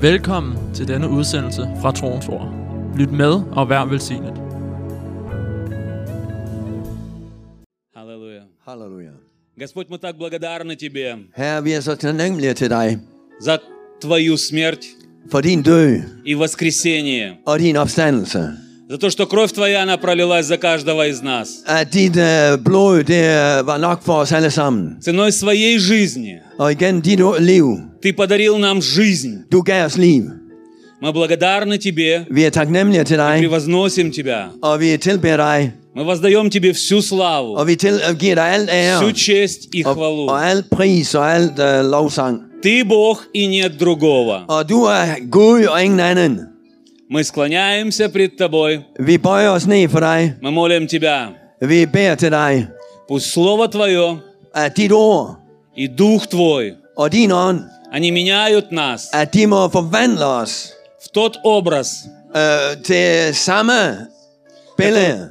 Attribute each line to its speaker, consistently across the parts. Speaker 1: Velkommen til denne udsendelse fra Troens Ord. Lyt med og vær velsignet.
Speaker 2: Аллилуйя.
Speaker 3: Halleluja.
Speaker 2: Господь, мы так благодарны Тебе
Speaker 3: Herre, vi er så taknemmelige til dig
Speaker 2: за Твою смерть
Speaker 3: for din død
Speaker 2: и воскресение,
Speaker 3: og din opstandelse.
Speaker 2: за то, что кровь Твоя, она пролилась за каждого из нас.
Speaker 3: At dit øh, blod, det øh, var nok for os alle sammen.
Speaker 2: Ценой своей жизни
Speaker 3: Og igen, dit o- liv,
Speaker 2: Ты подарил нам жизнь.
Speaker 3: du gav os liv.
Speaker 2: Мы благодарны Тебе,
Speaker 3: Vi er taknemmelige til dig,
Speaker 2: превозносим Тебя.
Speaker 3: og vi tilbeder dig,
Speaker 2: Мы воздаем Тебе всю славу,
Speaker 3: og vi til, øh, giver dig alt ære,
Speaker 2: всю честь и
Speaker 3: og,
Speaker 2: хвалу.
Speaker 3: og alt pris og alt øh, lovsang.
Speaker 2: Ты Бог и нет другого.
Speaker 3: Og du er Gud og ingen anden.
Speaker 2: Мы склоняемся пред Тобой,
Speaker 3: Vi bøjer os ned for dig.
Speaker 2: мы молим Тебя.
Speaker 3: Vi beder til dig,
Speaker 2: Пусть Слово Твое
Speaker 3: at dit ord
Speaker 2: и Дух Твой,
Speaker 3: og din ånd,
Speaker 2: они меняют нас
Speaker 3: at de må forvandle os
Speaker 2: в тот образ,
Speaker 3: øh, til samme billede,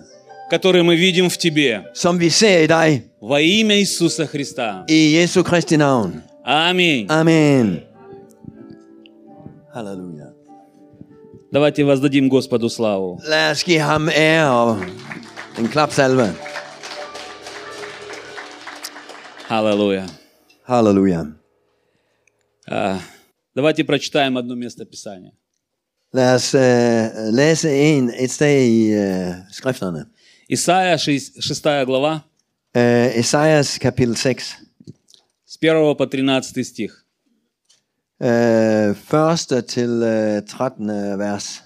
Speaker 2: который мы видим в Тебе.
Speaker 3: som vi ser i dig,
Speaker 2: Во имя Иисуса Христа.
Speaker 3: i Jesu Kristi navn.
Speaker 2: Аминь.
Speaker 3: Amen. Halleluja.
Speaker 2: Давайте воздадим Господу славу.
Speaker 3: Lad os give ham ære og en klapsalve.
Speaker 2: Аллилуйя.
Speaker 3: Halleluja.
Speaker 2: А, Давайте прочитаем одно место Писания.
Speaker 3: Lad os øh, læse en et sted i øh, skrifterne.
Speaker 2: Исайя, 6 глава,
Speaker 3: Øh, Esajas kapitel 6.
Speaker 2: с 1 по 13 стих.
Speaker 3: Øh, første til øh, 13. vers.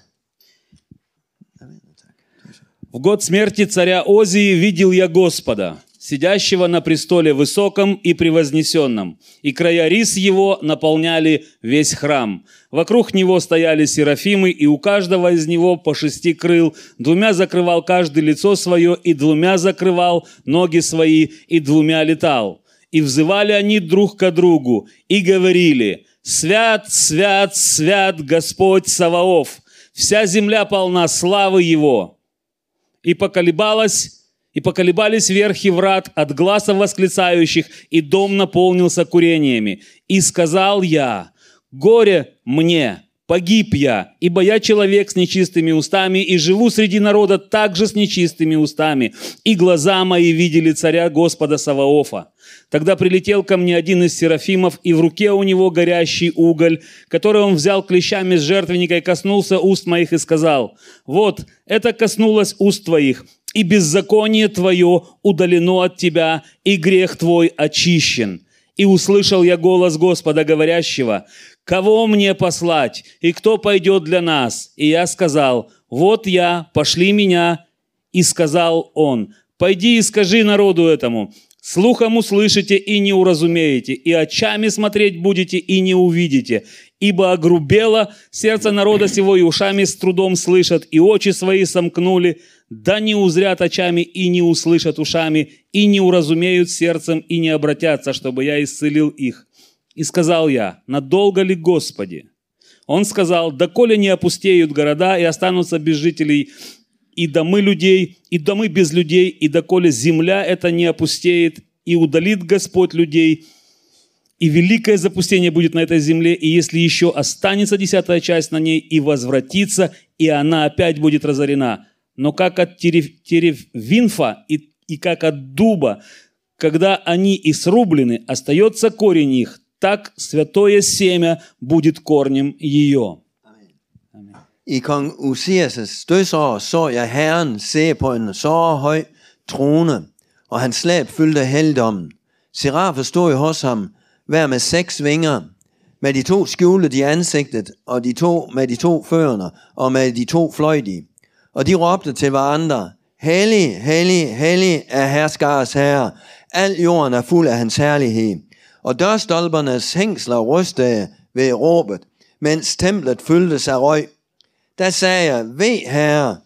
Speaker 2: «В год смерти царя Озии видел я Господа, сидящего на престоле высоком и превознесенном, и края рис его наполняли весь храм. Вокруг него стояли серафимы, и у каждого из него по шести крыл, двумя закрывал каждый лицо свое, и двумя закрывал ноги свои, и двумя летал. И взывали они друг к другу, и говорили, «Свят, свят, свят Господь Саваоф, вся земля полна славы Его» и поколебалась, и поколебались верхи врат от глаза восклицающих, и дом наполнился курениями. И сказал я, горе мне, погиб я, ибо я человек с нечистыми устами, и живу среди народа также с нечистыми устами, и глаза мои видели царя Господа Саваофа. Тогда прилетел ко мне один из серафимов, и в руке у него горящий уголь, который он взял клещами с жертвенника и коснулся уст моих и сказал, «Вот, это коснулось уст твоих, и беззаконие твое удалено от тебя, и грех твой очищен». И услышал я голос Господа, говорящего, «Кого мне послать, и кто пойдет для нас?» И я сказал, «Вот я, пошли меня». И сказал он, «Пойди и скажи народу этому, слухом услышите и не уразумеете, и очами смотреть будете и не увидите, ибо огрубело сердце народа сего, и ушами с трудом слышат, и очи свои сомкнули, да не узрят очами и не услышат ушами, и не уразумеют сердцем и не обратятся, чтобы я исцелил их». И сказал я, «Надолго ли, Господи?» Он сказал, «Доколе не опустеют города и останутся без жителей и домы людей, и домы без людей, и доколе земля это не опустеет, и удалит Господь людей, и великое запустение будет на этой земле, и если еще останется десятая часть на ней, и возвратится, и она опять будет разорена. Но как от терев, теревинфа и, и как от дуба, когда они и срублены, остается корень их, так святое семя будет корнем ее».
Speaker 3: I kong Usias' dødsår så jeg herren se på en så høj trone, og hans slæb fyldte heldommen. Serafer stod hos ham, hver med seks vinger. Med de to skjulte de ansigtet, og de to med de to førende, og med de to fløj de. Og de råbte til hverandre, Hellig, hellig, hellig er herskares herre. Al jorden er fuld af hans herlighed. Og dørstolpernes hængsler rystede ved råbet, mens templet fyldte sig røg. Der sagde jeg, ved herre,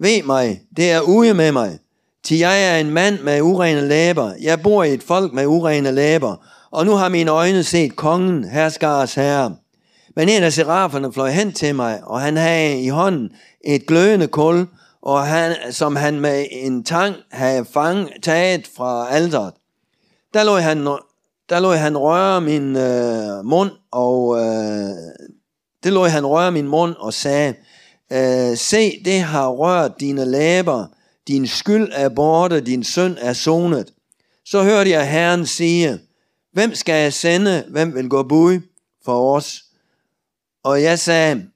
Speaker 3: ved mig, det er ude med mig. Til jeg er en mand med urene læber, jeg bor i et folk med urene læber, og nu har mine øjne set kongen, herskares herre. Men en af seraferne fløj hen til mig, og han havde i hånden et glødende kul, og han, som han med en tang havde fang, taget fra alderet. Der lod han, der lod han røre min øh, mund og øh, Det lod han røre min mund og sagde, "Øh, se, det har rørt dine læber, din skyld er borte, din synd er sonet. Så hørte jeg Herren sige, hvem skal jeg sende, hvem vil gå bud for os? Og jeg sagde,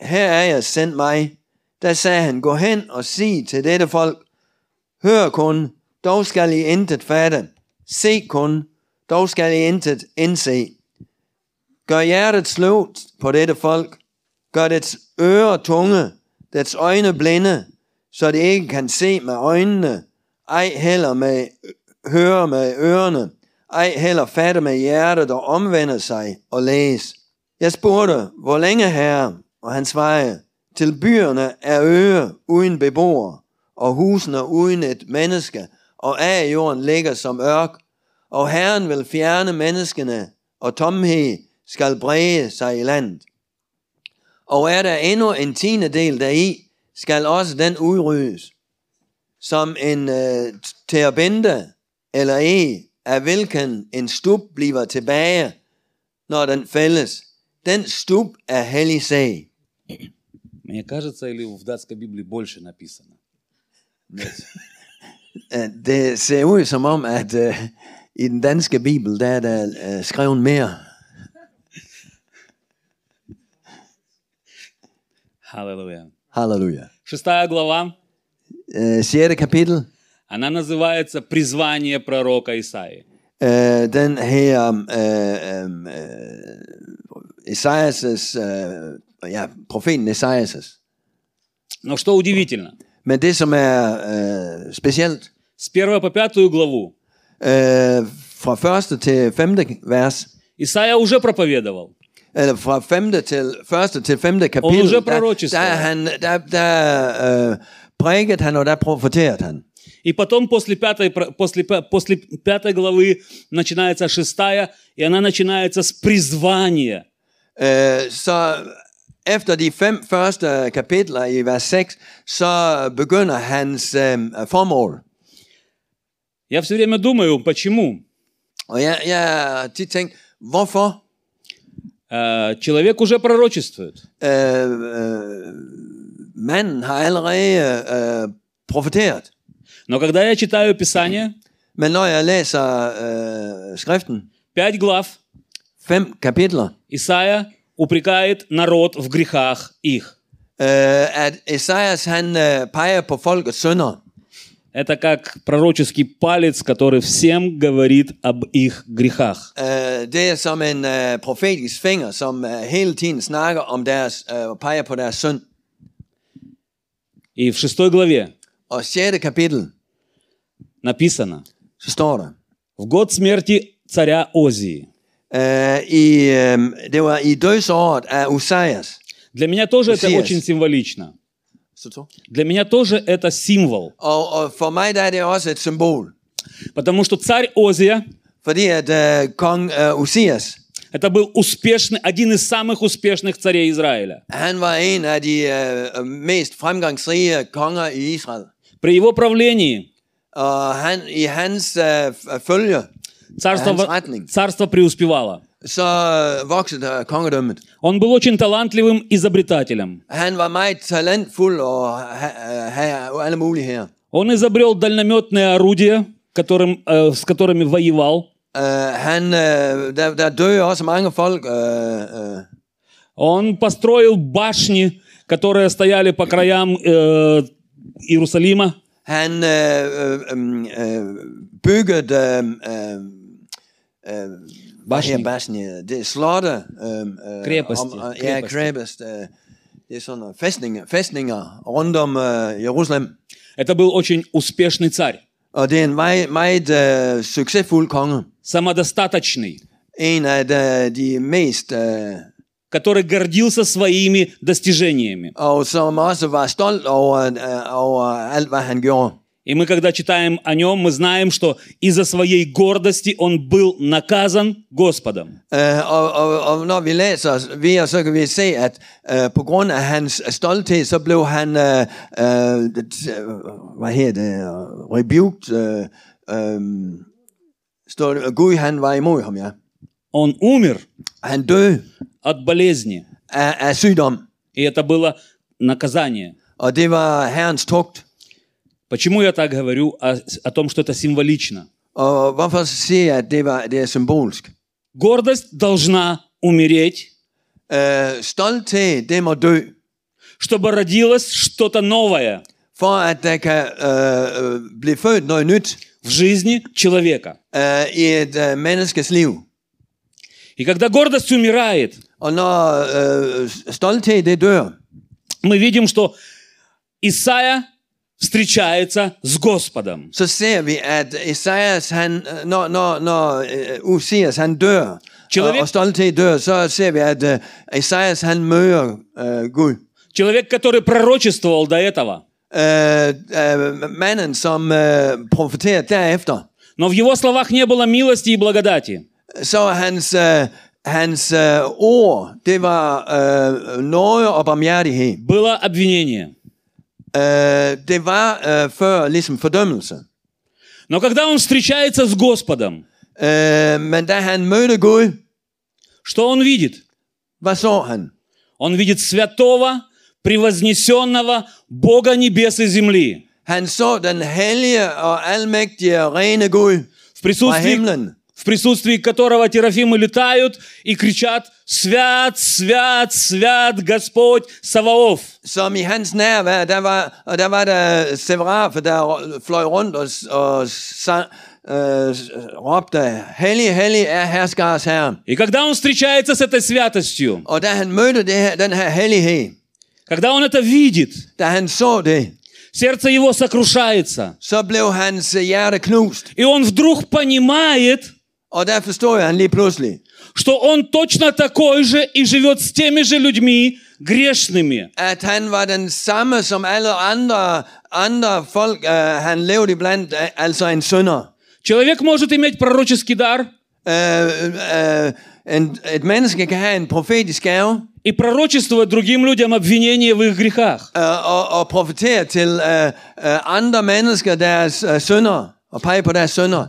Speaker 3: her er jeg, send mig. Da sagde han, gå hen og sig til dette folk, hør kun, dog skal I intet fatte. Se kun, dog skal I intet indse. Gør hjertet sløvt på dette folk. Gør dets ører tunge, dets øjne blinde, så det ikke kan se med øjnene, ej heller med høre med ørerne, ej heller fatte med hjertet og omvende sig og læse. Jeg spurgte, hvor længe herre, og han svarede, til byerne er øer uden beboere, og husene uden et menneske, og af jorden ligger som ørk, og Herren vil fjerne menneskene, og tomhed skal brede sig i landet. Og er der endnu en tiende del deri, skal også den udryddes. Som en øh, terbente eller e, af hvilken en stup bliver tilbage, når den fældes. Den stup er hellig sag.
Speaker 2: Мне кажется, или в датской Библии больше написано.
Speaker 3: Øh, Det ser ud som om, at øh, i den danske bibel, der er der øh, skrevet mere.
Speaker 2: Аллилуйя.
Speaker 3: Halleluja.
Speaker 2: Шестая глава,
Speaker 3: Øh, 6. kapitel.
Speaker 2: она называется «Призвание пророка Исаии».
Speaker 3: Øh, den her øh, øh, øh, Esajas' øh, ja, profeten Esajas.
Speaker 2: Но что удивительно,
Speaker 3: Men det som er øh, specielt
Speaker 2: с 1 по 5 главу
Speaker 3: øh, fra første til femte vers
Speaker 2: Исаия уже проповедовал.
Speaker 3: eller fra femte til første til femte
Speaker 2: Og nu
Speaker 3: kapitel,
Speaker 2: så
Speaker 3: der,
Speaker 2: prorokisk,
Speaker 3: der er
Speaker 2: ja.
Speaker 3: han der der øh, prædiket han og der profeteret han.
Speaker 2: И потом после пятой, про- после, пя- после пятой главы начинается шестая, и она начинается с призвания.
Speaker 3: Øh, så efter de fem første kapitler i vers 6, så begynder hans øh, formål.
Speaker 2: Я все время думаю, почему
Speaker 3: Og jeg, jeg har tit tænkt, hvorfor
Speaker 2: Э, человек уже пророчествует.
Speaker 3: øh, øh, manden har allerede øh, profeteret.
Speaker 2: Но когда я читаю Писание,
Speaker 3: Men når jeg læser øh, skriften,
Speaker 2: пять глав
Speaker 3: fem kapitler,
Speaker 2: Исаия упрекает народ в грехах их.
Speaker 3: øh, at Esajas han øh, peger på folkets sønder.
Speaker 2: Это как пророческий палец, который всем говорит об их грехах.
Speaker 3: Øh, det er som en øh, profetisk finger, som øh, hele tiden snakker om deres, øh, peger på deres synd.
Speaker 2: И в шестой главе
Speaker 3: Og 6. kapitel,
Speaker 2: написано,
Speaker 3: så står der,
Speaker 2: в год смерти царя Озии.
Speaker 3: øh, i, øh, det var i dødsåret af Usajas.
Speaker 2: Для меня тоже это
Speaker 3: Yes.
Speaker 2: очень символично.
Speaker 3: Så to.
Speaker 2: Для меня тоже это символ.
Speaker 3: Og, og for mig der er det også et symbol.
Speaker 2: Потому что царь Озия,
Speaker 3: Fordi at øh, kong øh, Usias,
Speaker 2: это был успешный, один из самых успешных царей Израиля.
Speaker 3: han var en af de øh, mest fremgangsrige konger i Israel.
Speaker 2: При его правлении
Speaker 3: Og han, i hans øh, f- følge,
Speaker 2: царство,
Speaker 3: Hans
Speaker 2: во-
Speaker 3: Ratling.
Speaker 2: царство преуспевало.
Speaker 3: så øh, voksede øh, kongedømmet.
Speaker 2: Он был очень талантливым изобретателем.
Speaker 3: Han var meget talentfuld og ha- øh, havde alle muligheder.
Speaker 2: Он изобрел дальнометные орудия, которым, э, с которыми воевал.
Speaker 3: Uh, han, øh, der, der døde også mange folk. Øh, øh.
Speaker 2: Он построил башни, которые стояли по краям э, Иерусалима.
Speaker 3: Han øh, øh, øhm, øh, byggede øh, øh, øh,
Speaker 2: Bosnien.
Speaker 3: her Bosnien, det er slotte. Øh, øh,
Speaker 2: Krepasti.
Speaker 3: øh, ja,
Speaker 2: Krepasti.
Speaker 3: Krepast. Øh, det er sådan nogle fæstninger, fæstninger rundt om øh, Jerusalem.
Speaker 2: Это был очень успешный царь,
Speaker 3: Og det er en meget, meget øh, succesfuld konge.
Speaker 2: самодостаточный,
Speaker 3: En af de, de mest... Øh,
Speaker 2: который гордился своими достижениями.
Speaker 3: og som også var stolt over, øh, over alt, hvad han gjorde.
Speaker 2: И мы, когда читаем о нем, мы знаем, что из-за своей гордости он был наказан Господом.
Speaker 3: Øh, og, og, og når vi læser videre, så kan vi se, at øh, på grund af hans stolthed, så blev han, øh, øh, t- øh, hvad hedder det, øh, rebuked. Øh, øh, stod, Gud han var imod ham, ja.
Speaker 2: Он умер
Speaker 3: Han døde
Speaker 2: от болезни.
Speaker 3: af, af sygdom.
Speaker 2: И это было наказание.
Speaker 3: Og det var Herrens tugt.
Speaker 2: Почему я так говорю о, о том, что это символично?
Speaker 3: Og hvorfor siger jeg, at det, var, det er symbolsk?
Speaker 2: Гордость должна умереть,
Speaker 3: Øh, stolthed, det må dø,
Speaker 2: чтобы родилось что-то новое
Speaker 3: for at der kan øh, øh, blive født noget nyt
Speaker 2: в жизни человека.
Speaker 3: øh, i et øh, menneskes liv.
Speaker 2: И когда гордость умирает,
Speaker 3: Og når øh, stolthed, det dør,
Speaker 2: мы видим, что Исаия встречается с Господом.
Speaker 3: så ser vi, at Esajas, han, øh, når, når, når øh, Usias, han dør, og,
Speaker 2: Человек-
Speaker 3: og stolthed dør, så ser vi, at øh, Esajas, han møder øh, Gud.
Speaker 2: Человек, который пророчествовал до этого.
Speaker 3: Øh, øh, manden, som øh, profeterer derefter,
Speaker 2: Но в его словах не было милости и благодати.
Speaker 3: så hans, øh, hans øh, ord, det var øh, noget og barmhjertighed.
Speaker 2: Было обвинение.
Speaker 3: Øh, det var øh, før ligesom fordømmelse.
Speaker 2: Но когда он встречается с Господом,
Speaker 3: Øh, men da han mødte Gud,
Speaker 2: что он видит?
Speaker 3: hvad så han?
Speaker 2: Он видит святого, превознесенного Бога небес и земли.
Speaker 3: Han så den hellige og almægtige og rene Gud
Speaker 2: В
Speaker 3: fra
Speaker 2: присутствии,
Speaker 3: himlen,
Speaker 2: в присутствии которого терафимы летают и кричат «Свят, свят, свят Господь Саваоф!»
Speaker 3: som i hans nærvær, der var, og der var der severafer, der fløj rundt og, og sang, øh, råbte, hellig, hellig er herskars herre.
Speaker 2: И когда он встречается с этой святостью,
Speaker 3: Og da han mødte det her, den her hellighed,
Speaker 2: когда он это видит,
Speaker 3: da han så det,
Speaker 2: сердце его сокрушается.
Speaker 3: så blev hans øh, hjerte knust.
Speaker 2: И он вдруг понимает,
Speaker 3: Og der forstod jeg han lige pludselig,
Speaker 2: что он точно такой же и живет с теми же людьми грешными.
Speaker 3: at han var den samme som alle andre, andre folk, øh, han levede iblandt, øh, altså en synder.
Speaker 2: Человек может иметь пророческий дар
Speaker 3: Øh, øh, en, et menneske kan have en profetisk gave
Speaker 2: и пророчествовать другим людям обвинение в их грехах.
Speaker 3: øh, og, og profetere til øh, øh, andre mennesker deres øh, synder og pege på deres synder.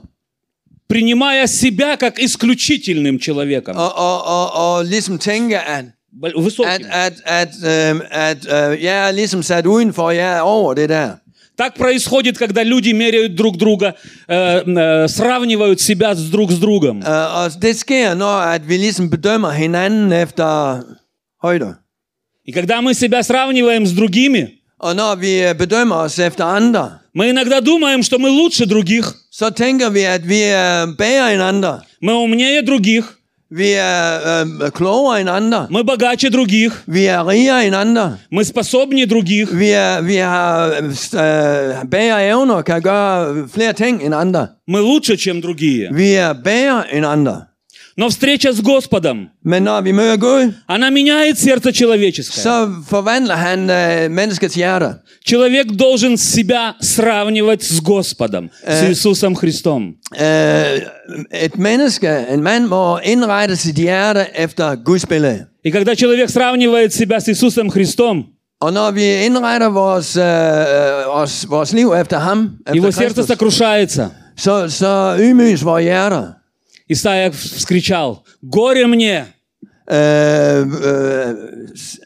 Speaker 2: Принимая себя как исключительным человеком.
Speaker 3: Og, og, og, og ligesom tænke, at,
Speaker 2: бо-
Speaker 3: at,
Speaker 2: Высоким.
Speaker 3: at, at, øh, at øh, jeg er ligesom sat udenfor, jeg er over det der.
Speaker 2: Так происходит, когда люди меряют друг друга, э, э, сравнивают себя с друг с другом.
Speaker 3: Øh, og det sker, når at vi ligesom bedømmer hinanden efter højder.
Speaker 2: И когда мы себя сравниваем с другими,
Speaker 3: Og når vi øh, bedømmer os efter andre,
Speaker 2: мы иногда думаем, что мы лучше других,
Speaker 3: så tænker vi, at vi øh, er bedre end andre.
Speaker 2: мы умнее других,
Speaker 3: Vi er øh, klogere end andre.
Speaker 2: мы богаче других,
Speaker 3: Vi er rigere end andre.
Speaker 2: мы способнее других.
Speaker 3: Vi, er, vi har øh, bedre evner, kan gøre flere ting end andre.
Speaker 2: Мы лучше, чем другие.
Speaker 3: Vi er bedre end andre.
Speaker 2: Но встреча с Господом,
Speaker 3: Men når vi møder Gud,
Speaker 2: она меняет сердце человеческое.
Speaker 3: så forvandler han øh, menneskets hjerte.
Speaker 2: Человек должен себя сравнivать с Господом, с Иисусом Христом.
Speaker 3: Øh, et menneske, en mand, må indrette sit hjerte efter Guds billede.
Speaker 2: И когда человек сравнивает себя с Иисусом Христом,
Speaker 3: Og når vi indretter vores, øh, øh, os, vores liv efter ham,
Speaker 2: его
Speaker 3: efter
Speaker 2: сердце
Speaker 3: Kristus,
Speaker 2: сокрушается.
Speaker 3: så, så ydmyges vores hjerter.
Speaker 2: Исаия вскричал, «Горе мне,
Speaker 3: Øh, øh, s-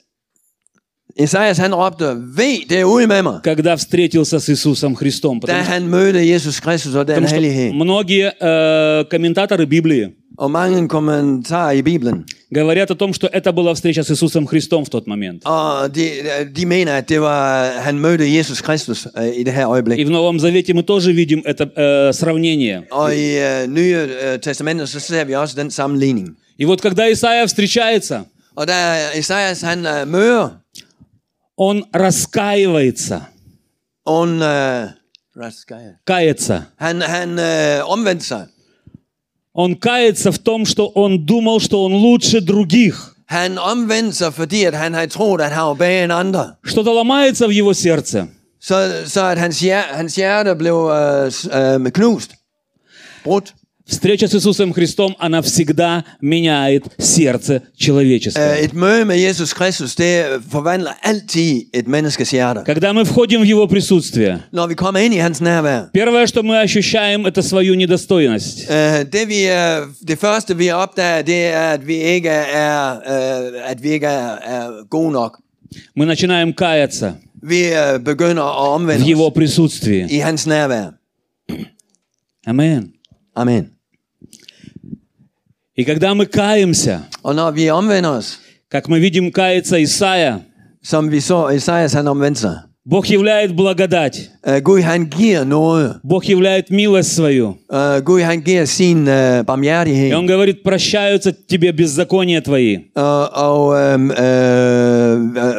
Speaker 3: Esajas han råbte, ved det er ude med mig,
Speaker 2: когда встретился с Иисусом Христом».
Speaker 3: da
Speaker 2: Потому что
Speaker 3: han mødte Jesus Kristus og den
Speaker 2: Потому что
Speaker 3: hellighed.
Speaker 2: многие э, комментаторы Библии
Speaker 3: Og mange kommentarer i Bibelen.
Speaker 2: говорят о том, что это была встреча с Иисусом Христом в тот момент.
Speaker 3: Og de, de mener, at det var, han mødte Jesus Kristus øh, i det her øjeblik.
Speaker 2: И в Новом Завете мы тоже видим это э, sравнение.
Speaker 3: Og i øh, Nye øh, Testamentet, så ser vi også den sammenligning.
Speaker 2: И вот когда Исаия встречается,
Speaker 3: Og da Esajas han øh, møder,
Speaker 2: он раскаивается,
Speaker 3: og hun, øh, Raskaya.
Speaker 2: кается.
Speaker 3: han, han øh, omvendte sig.
Speaker 2: Он кается в том, что он думал, что он lучше других.
Speaker 3: Han omvendte sig, fordi at han havde troet, at han var bedre end andre.
Speaker 2: Что-то ломается в его сердце.
Speaker 3: Så, så at hans hjerte, hans hjerte blev øh, s- øh, knust, brudt.
Speaker 2: Встреча с Иисусом Христом, она всегда меняет сердце человеческое.
Speaker 3: Øh, Et møde med Jesus Kristus, det øh, forvandler altid et menneskes hjerte.
Speaker 2: Когда мы входим в Его присутствие,
Speaker 3: Når vi kommer ind i hans nærvær,
Speaker 2: первое, что мы ощущаем, это свою недостойность.
Speaker 3: øh, det, vi, øh, det første vi opdager, det er, at vi ikke er, øh, at vi ikke er, er gode nok.
Speaker 2: Мы начинаем каяться
Speaker 3: Vi øh, begynder at
Speaker 2: в
Speaker 3: omvende
Speaker 2: Его
Speaker 3: os
Speaker 2: присутствии.
Speaker 3: i hans nærvær.
Speaker 2: Амин.
Speaker 3: Amen.
Speaker 2: И когда мы каемся,
Speaker 3: Og når vi omvender os,
Speaker 2: как мы видим кается Исаия,
Speaker 3: som vi så Esajas han omvendte sig,
Speaker 2: Бог являет благодать,
Speaker 3: øh, Gud han giver noget.
Speaker 2: Бог являет милость свою.
Speaker 3: Øh, Gud han giver sin øh, barmhjertighed.
Speaker 2: И Он говорит, прощаются тебе беззакония твои.
Speaker 3: Og, og øhm, øh, øh,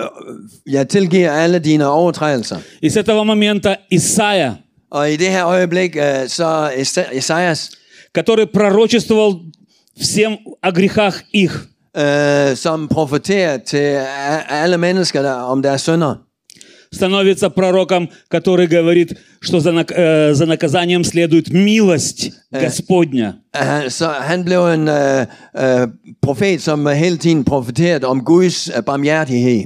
Speaker 3: jeg tilgiver alle dine overtrædelser.
Speaker 2: И с этого момента Исаия,
Speaker 3: Og i det her øjeblik, øh, så Esa- Esajas,
Speaker 2: который пророчествовал всем о грехах их,
Speaker 3: øh, som profeterer til a- alle mennesker der, om deres sønder,
Speaker 2: становится пророком, который говорит, что за, нак- э, за наказанием следует милость Господня.
Speaker 3: han, øh, så han blev en øh, øh, profet, som hele tiden profeterede om Guds øh, barmhjertighed.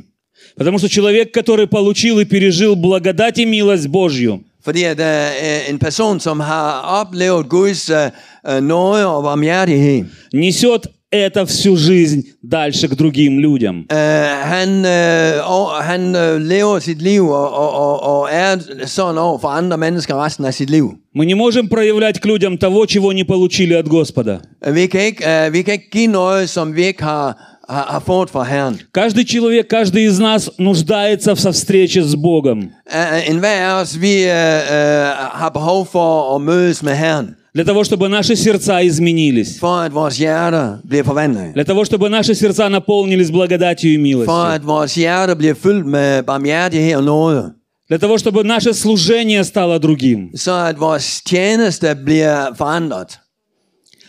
Speaker 2: Потому что человек, который получил и пережил благодать и милость Божью,
Speaker 3: Fordi at øh, en person, som har oplevet Guds øh, øh, nåde og barmhjertighed,
Speaker 2: несет это всю жизнь dальше к другим людям.
Speaker 3: Øh, han øh, og, han øh, lever sit liv og, og, og, og er sådan over for andre mennesker resten af sit liv.
Speaker 2: Мы не можем проявлять к людям того, чего не получили от Господа.
Speaker 3: Øh, Vi kan ikke, øh, vi kan ikke give noget, som vi ikke har, har, har fået fra Herren.
Speaker 2: Каждый человек, каждый из нас нуждается в со встрече с Богом.
Speaker 3: Øh, En hver af os, vi øh, øh, har behov for at mødes med Herren,
Speaker 2: Для того, чтобы наши сердца изменились.
Speaker 3: for at vores hjerter bliver forvandlet.
Speaker 2: Для того, чтобы наши сердца наполнились благодатью и
Speaker 3: For
Speaker 2: милостью.
Speaker 3: at vores hjerter bliver fyldt med barmhjertighed og nåde.
Speaker 2: Для того, чтобы наше служение стало другим.
Speaker 3: Så at vores tjeneste bliver forandret.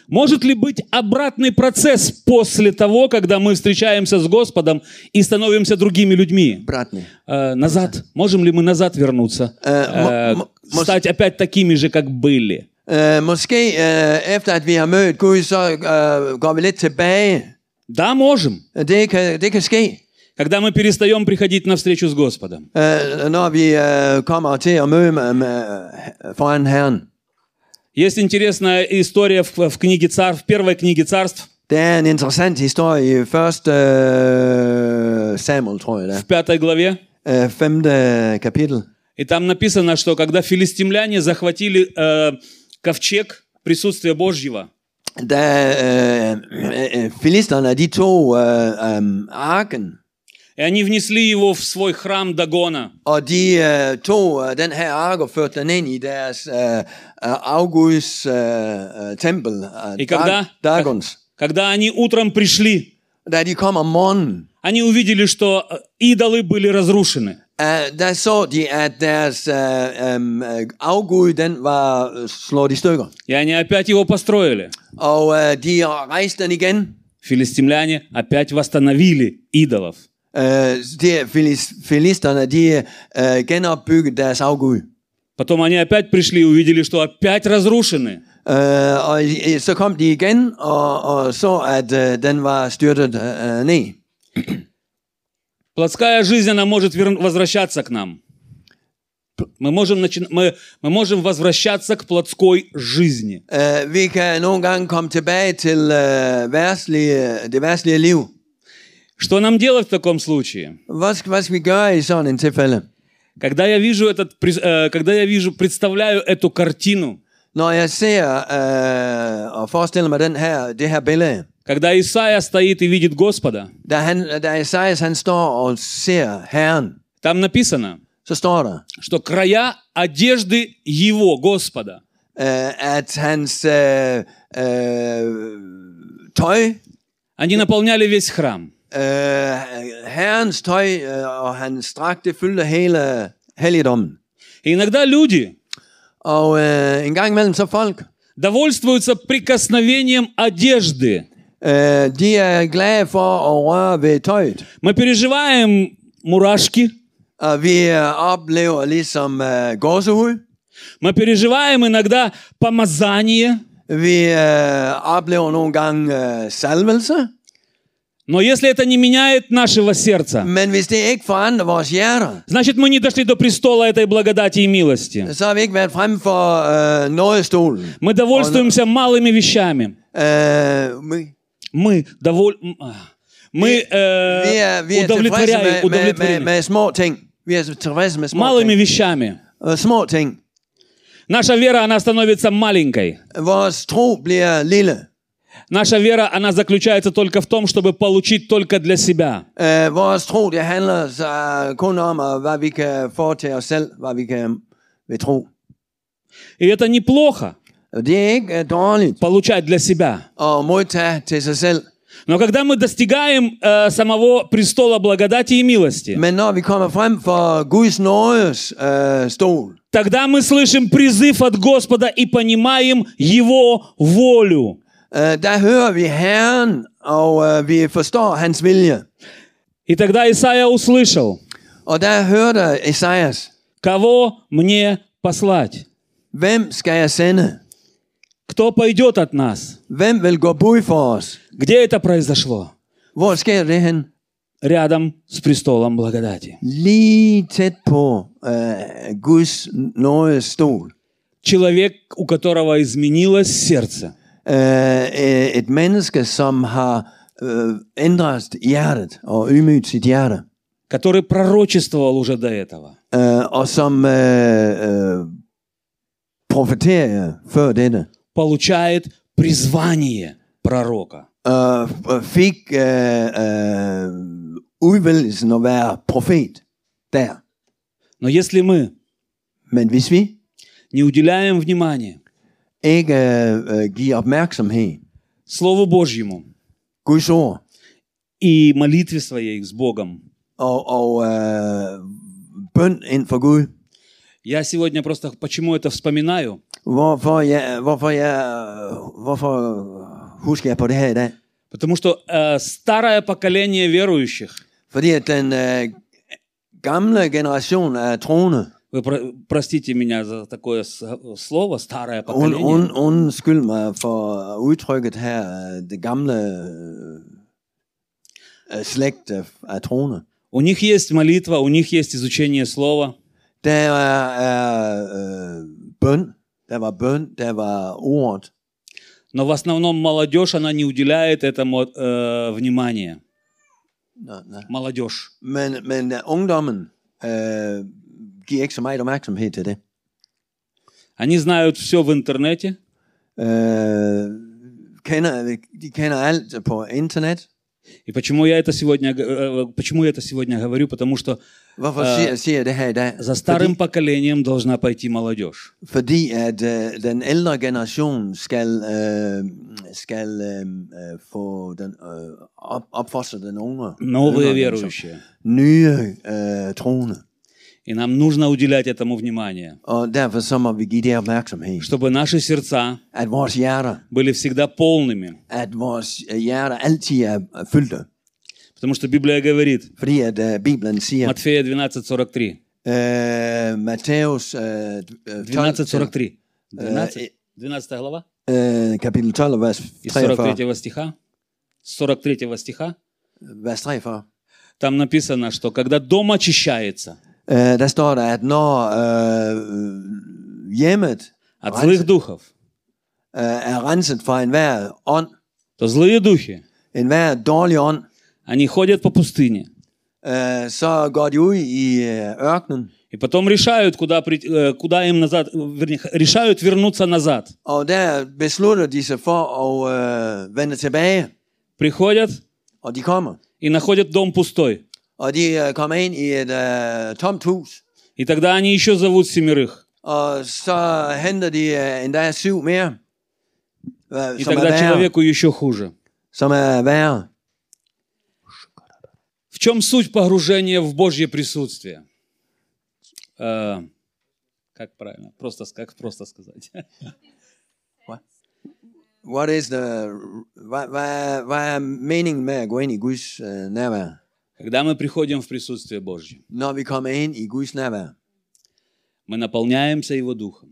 Speaker 2: Может ли быть обратный процесс после того, когда мы встречаемся с Господом и становимся другими людьми?
Speaker 3: Bratni.
Speaker 2: Э, назад. Можем ли мы назад вернуться?
Speaker 3: Э,
Speaker 2: Э,
Speaker 3: м- м-
Speaker 2: стать опять такими же, как были?
Speaker 3: Øh, måske øh, efter at vi har mødt Gud, så øh, går vi lidt tilbage.
Speaker 2: Да, можем.
Speaker 3: Det kan, det kan ske,
Speaker 2: Когда мы перестаем приходить на встречу с Господом.
Speaker 3: øh, når vi øh, kommer til at møde med, med, øh, foran Herren.
Speaker 2: Есть интересная история в, в книге Царств, в первой книге Царств,
Speaker 3: Der er en interessant historie i 1. Øh, Samuel, tror jeg
Speaker 2: в
Speaker 3: det
Speaker 2: пятой главе.
Speaker 3: er. Øh, 5. kapitel.
Speaker 2: И там написано, что когда филистимляне захватили э, ковчег присутствия Божьего,
Speaker 3: Da øh, øh, øh, filisterne, de tog øh, øh, arken,
Speaker 2: и они внесли его в свой храм Дагона,
Speaker 3: og de øh, tog øh, den her ark og førte den ind i deres øh, øh, afguds øh, øh, tempel, øh,
Speaker 2: I kan da-
Speaker 3: Dagons.
Speaker 2: когда они utrом prишли,
Speaker 3: Da de kom om morgenen,
Speaker 2: они увидели, что э, идолы были разрушены.
Speaker 3: øh, der så de, at deres øh, øh, øh, afgud, den var øh, slået i stykker.
Speaker 2: И они опять его postроили.
Speaker 3: Og øh, de rejste den igen.
Speaker 2: Филистимляне опять восстановили идолов.
Speaker 3: Øh, de filis- filisterne, de øh, genopbyggede deres afgud.
Speaker 2: Потом они опять prишли и увидели, что опять разрушены.
Speaker 3: Øh, og øh, så kom de igen og, og så, at øh, den var styrtet øh, ned.
Speaker 2: Плотская жизнь, она может вер- возвращаться к нам. Мы можем, начи- мы, мы можем возвращаться к плотской жизни.
Speaker 3: Uh, vi kan nogle gange komme tilbage til uh, værtslige, det værtslige liv.
Speaker 2: Что нам делать в таком случае?
Speaker 3: Hvad skal, hvad skal vi gøre i sådan en tilfælde?
Speaker 2: Когда я вижу этот, прис- э, когда я вижу, представляю эту картину,
Speaker 3: Når jeg ser uh, og forestiller mig den her, det her billede,
Speaker 2: когда Исаия stoит и видит Господа,
Speaker 3: da, han, da Esajas han står og ser Herren,
Speaker 2: там написано,
Speaker 3: så står der,
Speaker 2: что края одежды Его, Господа,
Speaker 3: uh, at hans uh, uh, tøj,
Speaker 2: они наполняли весь храм.
Speaker 3: uh, Herrens tøj uh, og hans strakt, det fyldte hele helligdommen.
Speaker 2: И иногда люди
Speaker 3: Og uh, en gang imellem så folk,
Speaker 2: довольствуются прикосновением одежды.
Speaker 3: Øh, de er glade for at røre ved tøjet.
Speaker 2: Мы переживаем мурашки,
Speaker 3: Og vi øh, oplever ligesom øh, gåsehud.
Speaker 2: Мы переживаем иногда помазание,
Speaker 3: Vi øh, oplever nogle gange øh, salvelse,
Speaker 2: Но если это не меняет нашего сердца,
Speaker 3: men hvis det ikke forandrer vores hjerter,
Speaker 2: значит мы не дошли до престола этой благодати и милости.
Speaker 3: så har vi ikke været frem for øh, nådestolen.
Speaker 2: Мы довольствуемся малыми вещами.
Speaker 3: Øh, men
Speaker 2: Мы доволь... м, а. Мы э,
Speaker 3: vi er, vi er tilfredse
Speaker 2: удовлетворяем,
Speaker 3: med, med, med,
Speaker 2: удовлетворены
Speaker 3: med små ting. Vi er tilfredse med små
Speaker 2: малыми
Speaker 3: ting.
Speaker 2: вещами.
Speaker 3: Øh, små ting.
Speaker 2: Наша вера, она становится маленькой.
Speaker 3: Vores tro bliver lille.
Speaker 2: Наша вера, она заключается только в том, чтобы получить только для себя.
Speaker 3: Øh, vores tro, det handler så kun om, øh, hvad vi kan få til os selv, hvad vi kan ved tro.
Speaker 2: И это неплохо,
Speaker 3: Og det er ikke øh, dårligt
Speaker 2: получать для себя.
Speaker 3: at modtage til sig selv.
Speaker 2: Но когда мы достигаем э, самого престола благодати и милости,
Speaker 3: Men når vi kommer frem for Guds nådes øh, stol,
Speaker 2: тогда мы слышим призыв от Господа и понимаем Его волю.
Speaker 3: øh, der hører vi Herren, og øh, vi forstår hans vilje.
Speaker 2: И тогда Исаия услышал,
Speaker 3: Og der hørte Esajas,
Speaker 2: кого мне послать?
Speaker 3: hvem skal jeg sende?
Speaker 2: Кто пойдет от нас?
Speaker 3: Hvem vil gå bud for os?
Speaker 2: Где это произошло?
Speaker 3: Hvor sker det hen?
Speaker 2: Рядом с престолом благодати.
Speaker 3: Lige tæt på øh, Guds nådes stol.
Speaker 2: Человек, у которого изменилось сердце.
Speaker 3: Øh, øh, et menneske, som har øh, ændret hjertet og ydmygt sit hjerte,
Speaker 2: который пророчествовал уже до этого,
Speaker 3: øh, og som øh, øh, profeterer før dette,
Speaker 2: получает призвание proroka.
Speaker 3: øh, fik øh, øh, udvælgelsen at være profet der.
Speaker 2: Но если мы
Speaker 3: Men hvis vi
Speaker 2: не уделяем внимания
Speaker 3: ikke øh, øh, giver opmærksomhed
Speaker 2: Слову Божьему
Speaker 3: Guds ord,
Speaker 2: и молитве своей с Богом,
Speaker 3: og, og øh, bøn ind for Gud.
Speaker 2: я сегодня просто почему это vспоминаю,
Speaker 3: Hvorfor jeg, hvorfor jeg, hvorfor husker jeg på det her i dag?
Speaker 2: потому что э, старое поколение верующих,
Speaker 3: Fordi at den øh, gamle generation af troende,
Speaker 2: вы про- простите меня за такое с- слово, старое
Speaker 3: und,
Speaker 2: поколение,
Speaker 3: und, undskyld mig for udtrykket her, øh, det gamle øh, øh, slægt af, af troende,
Speaker 2: у них есть молитва, у них есть изучение слова,
Speaker 3: der er, er øh, bøn, der var bøn, der var ordet,
Speaker 2: но в основном молодежь, она не уделяет этому э, внимания.
Speaker 3: Nå, nå.
Speaker 2: Молодежь.
Speaker 3: men, men øh, ungdommen øh, giver ikke så meget opmærksomhed til det.
Speaker 2: Они знают все в интернете,
Speaker 3: Øh, kender, de kender alt på internet.
Speaker 2: И почему я это сегодня, г- э, почему я это сегодня говорю? Потому что
Speaker 3: Hvorfor
Speaker 2: Øh, Altså,
Speaker 3: øh, siger, siger jeg det her i dag?
Speaker 2: за
Speaker 3: Fordi,
Speaker 2: старым поколением должна пойти молодежь.
Speaker 3: fordi at øh, den ældre generation skal, øh, skal øh, øh, få den, øh, op, opfostre den unge.
Speaker 2: Новые
Speaker 3: yngre generation.
Speaker 2: верующие.
Speaker 3: Nye øh, troende.
Speaker 2: И нам нужно уделять этому внимание,
Speaker 3: Og derfor så må vi give det opmærksomhed.
Speaker 2: чтобы наши сердца
Speaker 3: At vores hjerter,
Speaker 2: были всегда полными.
Speaker 3: at vores øh, hjerter altid er er fyldte.
Speaker 2: Потому что Библия говорит,
Speaker 3: Fordi at øh, Bibelen siger,
Speaker 2: Матфея 12.43.
Speaker 3: øh, Matthæus øh, øh, 12,
Speaker 2: 12.43. 12, 12 глава.
Speaker 3: øh, kapitel 12, vers
Speaker 2: Из
Speaker 3: 43.
Speaker 2: 43 стиха. С 43 stиха.
Speaker 3: vers 43.
Speaker 2: Там написано, что когда дом очищается
Speaker 3: Øh, der står der, at når øh, hjemmet
Speaker 2: от злых духов,
Speaker 3: øh, er renset fra enhver ånd,
Speaker 2: то злые духи,
Speaker 3: enhver dårlig ånd,
Speaker 2: они ходят по пустыне,
Speaker 3: øh, så går de ud i øh, ørkenen,
Speaker 2: И потом решают, куда, прийти- э, куда им назад, э, вернее, х- решают вернуться назад.
Speaker 3: og der beslutter de sig for at øh, vende tilbage,
Speaker 2: Приходят
Speaker 3: og de kommer.
Speaker 2: и находят дом пустой.
Speaker 3: Og de øh, kommer ind i et øh, tomt hus,
Speaker 2: И тогда они еще зовут семерых.
Speaker 3: og så henter de øh, endda syv mere, øh,
Speaker 2: И
Speaker 3: som, er
Speaker 2: тогда
Speaker 3: værre,
Speaker 2: человеку еще хуже.
Speaker 3: som er værre.
Speaker 2: В чем суть погружения в Божье присутствие? Э, как правильно? Просто, с- как просто сказать?
Speaker 3: What is the, hvad, hvad, hvad er meningen med at gå ind i Guds øh, nærvær?
Speaker 2: Когда мы приходим в присутствие Божье,
Speaker 3: Når vi kommer ind i Guds nærvær,
Speaker 2: мы наполняемся Его Духом.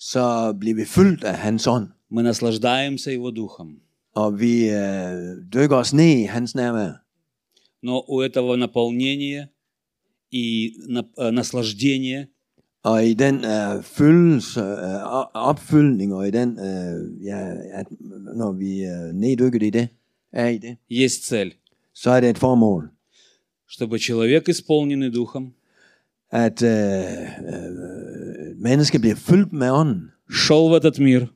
Speaker 3: så bliver vi fyldt af hans ånd.
Speaker 2: Мы наслаждаемся Его Духом.
Speaker 3: og vi øh, dykker os ned i hans nærvær.
Speaker 2: Но у этого наполнения и на- э, наслаждения
Speaker 3: Og i den øh, fyldelse, øh, o- opfyldning, og i den, øh, ja, at, når vi øh, neddykket i det, er i det,
Speaker 2: есть цель,
Speaker 3: så er det et formål.
Speaker 2: чтобы человек, исполненный Духом,
Speaker 3: At øh, øh, et menneske bliver fyldt med ånden,
Speaker 2: шел в этот мир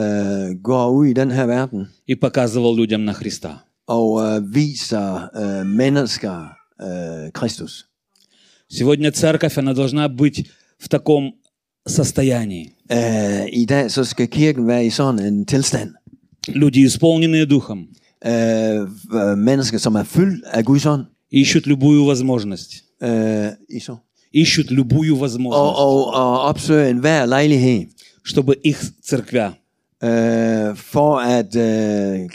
Speaker 3: øh, går ud i den her verden,
Speaker 2: и показывал людям на Христа.
Speaker 3: og øh, viser øh, mennesker øh, Kristus.
Speaker 2: Сегодня церковь, она должна быть в таком состоянии.
Speaker 3: Øh, I dag så skal kirken være i sådan en tilstand.
Speaker 2: Люди, исполненные Духом,
Speaker 3: Øh, øh, mennesker, som er fyldt af Guds ånd,
Speaker 2: ищут любую возможность.
Speaker 3: øh, i så.
Speaker 2: Ищут любую
Speaker 3: Og,
Speaker 2: возможность,
Speaker 3: og, og opsøge enhver lejlighed,
Speaker 2: чтобы их церквя,
Speaker 3: øh, for at øh, få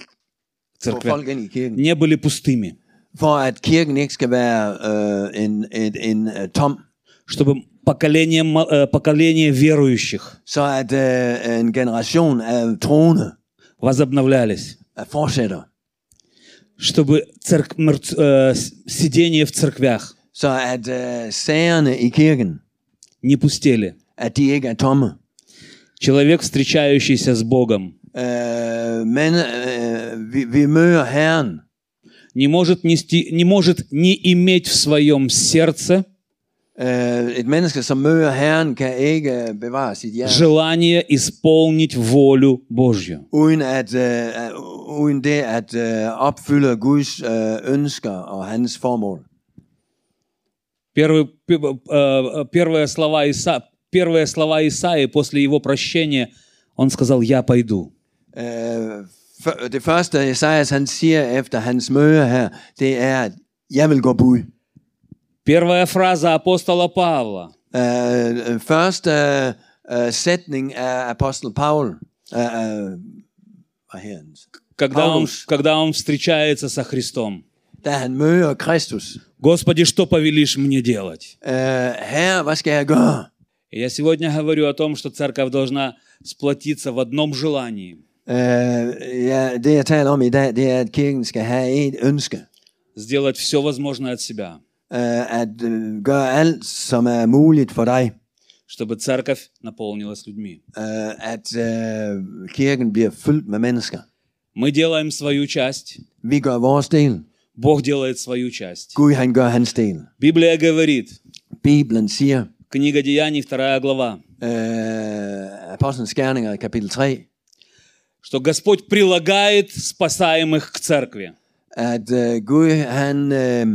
Speaker 2: церквя
Speaker 3: folk ind i kirken.
Speaker 2: не были пустыми,
Speaker 3: For at kirken ikke skal være øh, en, en, en øh, tom,
Speaker 2: чтобы поколение, мо- э, поколение верующих
Speaker 3: så at øh, en generation af troende
Speaker 2: возобновлялись,
Speaker 3: øh, fortsætter.
Speaker 2: чтобы церк- мертв- э, с- сидение в церквях
Speaker 3: Så at øh, sagerne i kirken,
Speaker 2: не пустели.
Speaker 3: at de ikke er tomme.
Speaker 2: Человек, встречающийся с Богом,
Speaker 3: Øh, men øh, vi, vi møder Herren,
Speaker 2: не может, нести, не может не иметь в своем сердце
Speaker 3: Øh, et menneske, som møder Herren, kan ikke øh, bevare sit hjerte,
Speaker 2: желание исполнить волю Божью.
Speaker 3: uden, at, øh, øh, uden det at øh, opfylde Guds øh, ønsker og hans formål.
Speaker 2: Первый, п- э, первые, слова Иса, первые слова Исаи после его прощения, он сказал, я пойду.
Speaker 3: Øh, f- det første, Esajas han siger efter hans møde her, det er, at jeg vil gå bud.
Speaker 2: Первая фраза апостола Павла,
Speaker 3: Øh, øh, første øh, øh, sætning af apostel Paul, øh, øh, hvad her,
Speaker 2: когда он,
Speaker 3: Павлус.
Speaker 2: когда он встречается со Христом.
Speaker 3: da han møder Kristus.
Speaker 2: Господи, что повелишь мне делать?
Speaker 3: Øh, Herre, hvad skal jeg gøre?
Speaker 2: И Я сегодня говорю о том, что церковь должна сплотиться в одном желании
Speaker 3: Øh, ja, det jeg taler om i dag, det er, at kirken skal have et ønske.
Speaker 2: сделать все возможное от себя,
Speaker 3: Øh, at øh, gøre alt, som er muligt for dig.
Speaker 2: чтобы церковь наполнилась людьми.
Speaker 3: Øh, at øh, kirken bliver fyldt med mennesker.
Speaker 2: Мы делаем свою часть,
Speaker 3: Vi gør vores del.
Speaker 2: Бог делает свою часть.
Speaker 3: Gud han gør hans del.
Speaker 2: Библия говорит,
Speaker 3: Bibelen siger,
Speaker 2: книга Деяний, вторая glава,
Speaker 3: øh, Apostlenes Gerninger, kapitel 3,
Speaker 2: что Господь прилагает спасаемых к церкви.
Speaker 3: at øh, Gud han, øh,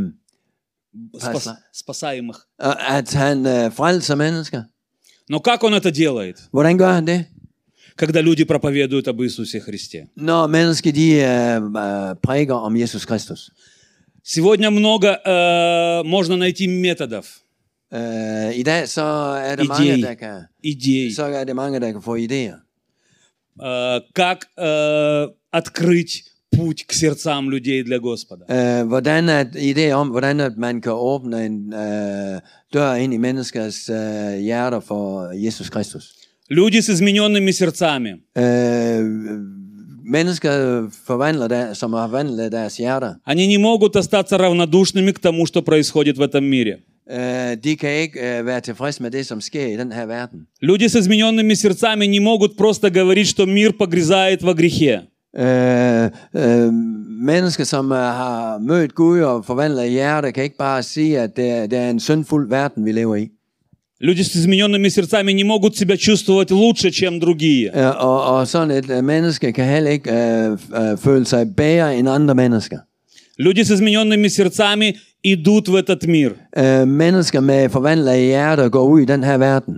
Speaker 2: Спас-
Speaker 3: Спасла-
Speaker 2: спасаемых.
Speaker 3: at han øh, frelser mennesker.
Speaker 2: Но как Он это делает,
Speaker 3: Hvordan gør han det?
Speaker 2: когда люди проповедуют об Иисусе Христе?
Speaker 3: Når mennesker de øh, øh, prædiker om Jesus Kristus.
Speaker 2: Сегодня много э, можно найти методов,
Speaker 3: Øh, I dag så er der
Speaker 2: Idé.
Speaker 3: mange, der kan,
Speaker 2: идей,
Speaker 3: så er det mange, der kan få idéer.
Speaker 2: э, как э, открыть путь к сердцам людей для Господа.
Speaker 3: Øh, hvordan at idéer om, hvordan at man kan åbne en øh, dør ind i menneskers øh, hjerter for Jesus Kristus.
Speaker 2: Люди с измененными сердцами,
Speaker 3: Øh, mennesker forvandler der, som har forvandlet deres hjerter,
Speaker 2: они не могут остаться равнодушными к тому, что происходит в этом мире.
Speaker 3: øh, de kan ikke øh, være tilfredse med det, som sker i den her verden.
Speaker 2: Люди с измененными сердцами не могут просто говорить, что мир погрязает во грехе.
Speaker 3: Øh, øh, mennesker, som øh, har mødt Gud og forvandlet hjerter, kan ikke bare sige, at det, er- det er en syndfuld verden, vi lever i.
Speaker 2: Люди с измененными сердцами не могут себя чувствовать лучше, чем другие.
Speaker 3: Øh, og, og sådan et øh, menneske kan heller ikke øh, f- øh, føle sig bedre end andre mennesker.
Speaker 2: Люди с измененными сердцами идут в этот mир
Speaker 3: Øh, mennesker med forvandlede hjerter går ud i den her verden.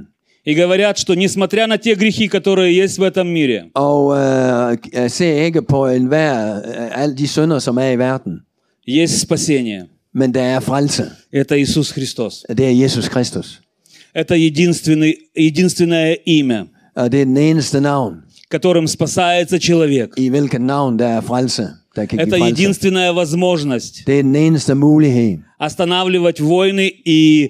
Speaker 2: и говорят, что несмотря на те грехи, которые есть в этом мире,
Speaker 3: Og øh, jeg ser ikke på enhver, øh, alle de synder, som er i verden.
Speaker 2: есть спасение.
Speaker 3: Men der er frelse.
Speaker 2: Это Иисус Христос.
Speaker 3: Det er Jesus Kristus.
Speaker 2: Это единственный, единственное имя,
Speaker 3: Og det er den eneste navn,
Speaker 2: которым спасается человек.
Speaker 3: i hvilket navn der er frelse. der kan
Speaker 2: Это
Speaker 3: give frelse.
Speaker 2: единственная возможность
Speaker 3: Det er den eneste mulighed.
Speaker 2: останавливать войны и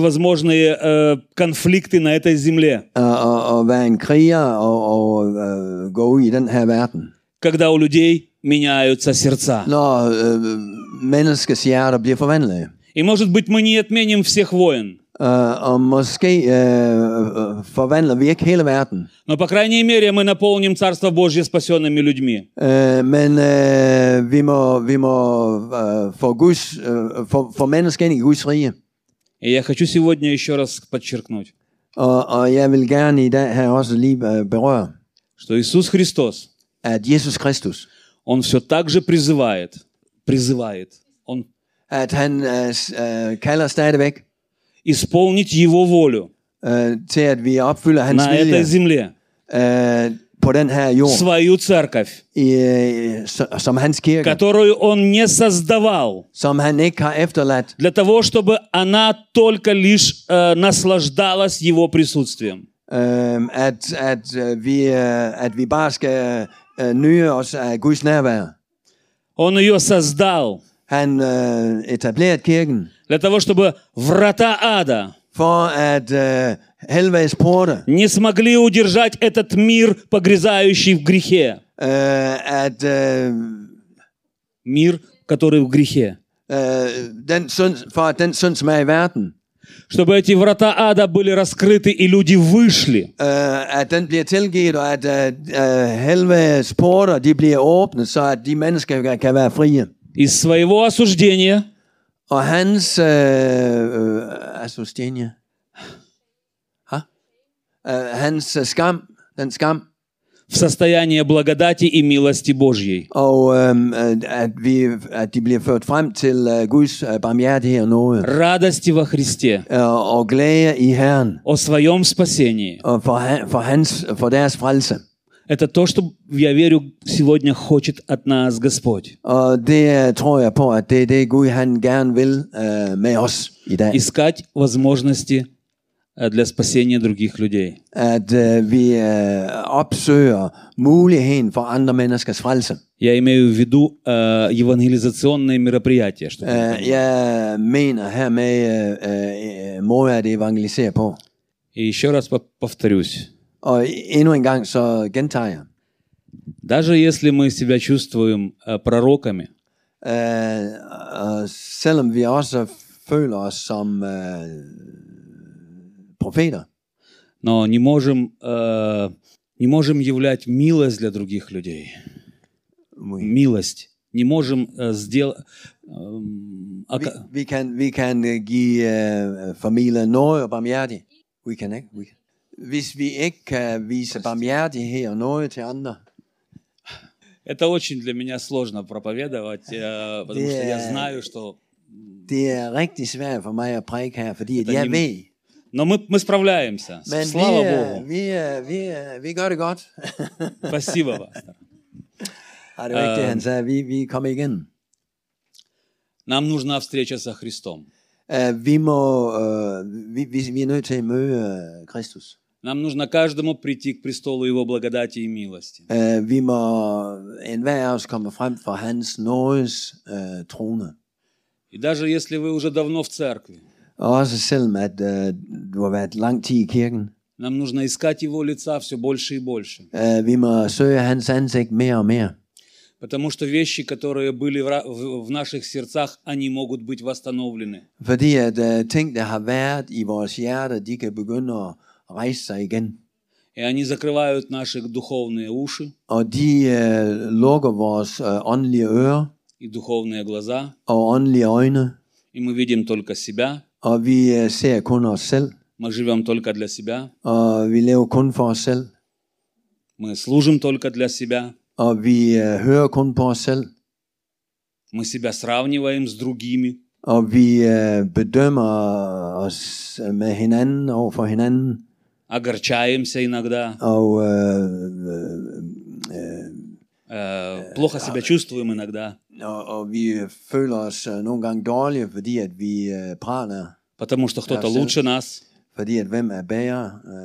Speaker 2: всевозможные э, конфликты на этой земле,
Speaker 3: at, øh, at, at være en kriger og, og øh, gå ud i den her verden.
Speaker 2: когда у людей меняются сердца.
Speaker 3: Når øh, menneskets hjerter bliver forvandlet.
Speaker 2: И, может быть, мы не отменим всех войн,
Speaker 3: Øh, og måske øh, øh, forvandler vi ikke hele verden.
Speaker 2: но, по крайней мере, мы наполним Царство Божье спасенными людьми.
Speaker 3: Øh, men øh, vi må, vi må øh, få, Guds, øh, få, få mennesker ind i Guds rige.
Speaker 2: И я хочу сегодня еще раз подчеркнуть,
Speaker 3: Og, og jeg vil gerne i dag her også lige øh, berøre,
Speaker 2: что Иисус Христос,
Speaker 3: at Jesus Kristus,
Speaker 2: Он все так же призывает, призывает, Он
Speaker 3: at han øh, s- øh, kalder stadigvæk
Speaker 2: исполнить Его волю
Speaker 3: øh, til, at vi opfylder hans
Speaker 2: на
Speaker 3: vilje
Speaker 2: этой земле,
Speaker 3: øh, på den her jord.
Speaker 2: свою церковь,
Speaker 3: i, øh, s- som hans kirke,
Speaker 2: которую Он не создавал,
Speaker 3: som han ikke har efterladt,
Speaker 2: для того, чтобы она только лишь э, наслаждалась Его присутствием.
Speaker 3: øh, at, at, øh, vi, øh, at vi bare skal øh, nyde os af Guds nærvær.
Speaker 2: Он ее создал
Speaker 3: Han øh, etablerede kirken
Speaker 2: для того, чтобы врата ада
Speaker 3: for at øh, helvedes porte,
Speaker 2: не смогли удержать этот мир, погрязающий в грехе.
Speaker 3: øh, at øh,
Speaker 2: Мир, который в грехе.
Speaker 3: øh, den synd, for at den synd, som er i verden,
Speaker 2: Чтобы эти врата ада были раскрыты, и люди вышли.
Speaker 3: øh, at den bliver tilgivet, og at øh, øh, helvedes porter de bliver åbnet, så at de mennesker kan- kan være frie.
Speaker 2: Из своего осуждения
Speaker 3: Og hans øh, øh, association, ha? Øh, hans øh, skam, den skam,
Speaker 2: в состояние благодати и милости Божьей.
Speaker 3: og øh, øh, at, vi, at de bliver ført frem til øh, Guds øh, barmhjertighed og nåde,
Speaker 2: Радости во Христе.
Speaker 3: øh, og glæde i Herren,
Speaker 2: О своем спасении.
Speaker 3: og for, han, for, hans, for deres frelse.
Speaker 2: Это то, что, я верю, сегодня хочет от нас Господь.
Speaker 3: Og det øh, tror jeg på, at det er det Gud, han gerne vil øh, med os i dag.
Speaker 2: Искать возможности э, для спасения других людей.
Speaker 3: At øh, vi øh, opsøger muligheden for andre menneskers frelse.
Speaker 2: Я имею в виду э, евангелизационные мероприятия. Чтобы вы
Speaker 3: Uh,
Speaker 2: понимали.
Speaker 3: jeg mener hermed uh, uh, måder at evangelisere på.
Speaker 2: И еще раз по- повторюсь.
Speaker 3: Og endnu en gang så gentager jeg.
Speaker 2: Даже если мы себя чувствуем э, prorokами,
Speaker 3: Uh, og selvom vi også føler os som uh, profeter,
Speaker 2: но не можем, э, не можем являть милость для других людей. Mm.
Speaker 3: vi,
Speaker 2: Милость. Не можем э, эм, сделать... Оказывать
Speaker 3: vi kan, vi kan øh, give uh, familien noget og barmhjertig. We can ikke. We can. Hvis vi ikke kan vise barmhjertighed og noget til andre,
Speaker 2: Это очень для меня сложно проповедовать, э, потому что я
Speaker 3: Да.
Speaker 2: знаю, что...
Speaker 3: det er rigtig svært for mig at prædike her, fordi at
Speaker 2: Der er
Speaker 3: jeg
Speaker 2: ingen-
Speaker 3: ved,
Speaker 2: Но мы, мы справляемся.
Speaker 3: Men
Speaker 2: Слава
Speaker 3: vi, øh,
Speaker 2: Богу.
Speaker 3: vi, øh, vi, øh, vi gør det godt.
Speaker 2: Спасибо, пастор.
Speaker 3: Ej, det var ikke det,
Speaker 2: Øh.
Speaker 3: han sagde. Vi, vi kommer igen.
Speaker 2: Нам нужна встреча со Христом.
Speaker 3: Uh, vi, må, uh, vi, vi, vi er nødt til at møde uh, Kristus.
Speaker 2: Нам нужно каждому прийти к престолу Его благодати и милости.
Speaker 3: Uh, vi må enhver af os komme frem for hans nådes uh, trone.
Speaker 2: И даже если вы уже давно в церкви,
Speaker 3: Også selvom at uh, du har været lang tid i kirken.
Speaker 2: нам нужно искать Его лица все больше и больше.
Speaker 3: Uh, vi må søge hans ansigt mere og mere.
Speaker 2: Потому что вещи, которые были в ра- в в наших сердцах, они могут быть восстановлены.
Speaker 3: Fordi at uh, ting, der har været i vores hjerter, de kan begynde at rejse sig igen.
Speaker 2: И они закрывают наши духовные уши
Speaker 3: Og de øh, lukker vores øh, åndelige ører
Speaker 2: и dуховные глаза,
Speaker 3: og åndelige øjne,
Speaker 2: и мы видим только себя,
Speaker 3: og vi øh, ser kun os selv,
Speaker 2: мы живем только для себя,
Speaker 3: og vi lever kun for os selv,
Speaker 2: мы служим только для себя,
Speaker 3: og vi øh, hører kun på os selv,
Speaker 2: мы себя сравниваем с другими,
Speaker 3: og vi øh, bedømmer os med hinanden over for hinanden,
Speaker 2: огорчаемся иногда,
Speaker 3: og øh, øh, øh,
Speaker 2: э, плохо себя чувствуем иногда,
Speaker 3: og, og vi øh, føler os øh, nogle gange dårlige, fordi at vi øh, praler,
Speaker 2: потому что кто-то
Speaker 3: Да, всё.
Speaker 2: лучше нас,
Speaker 3: fordi at hvem er bager,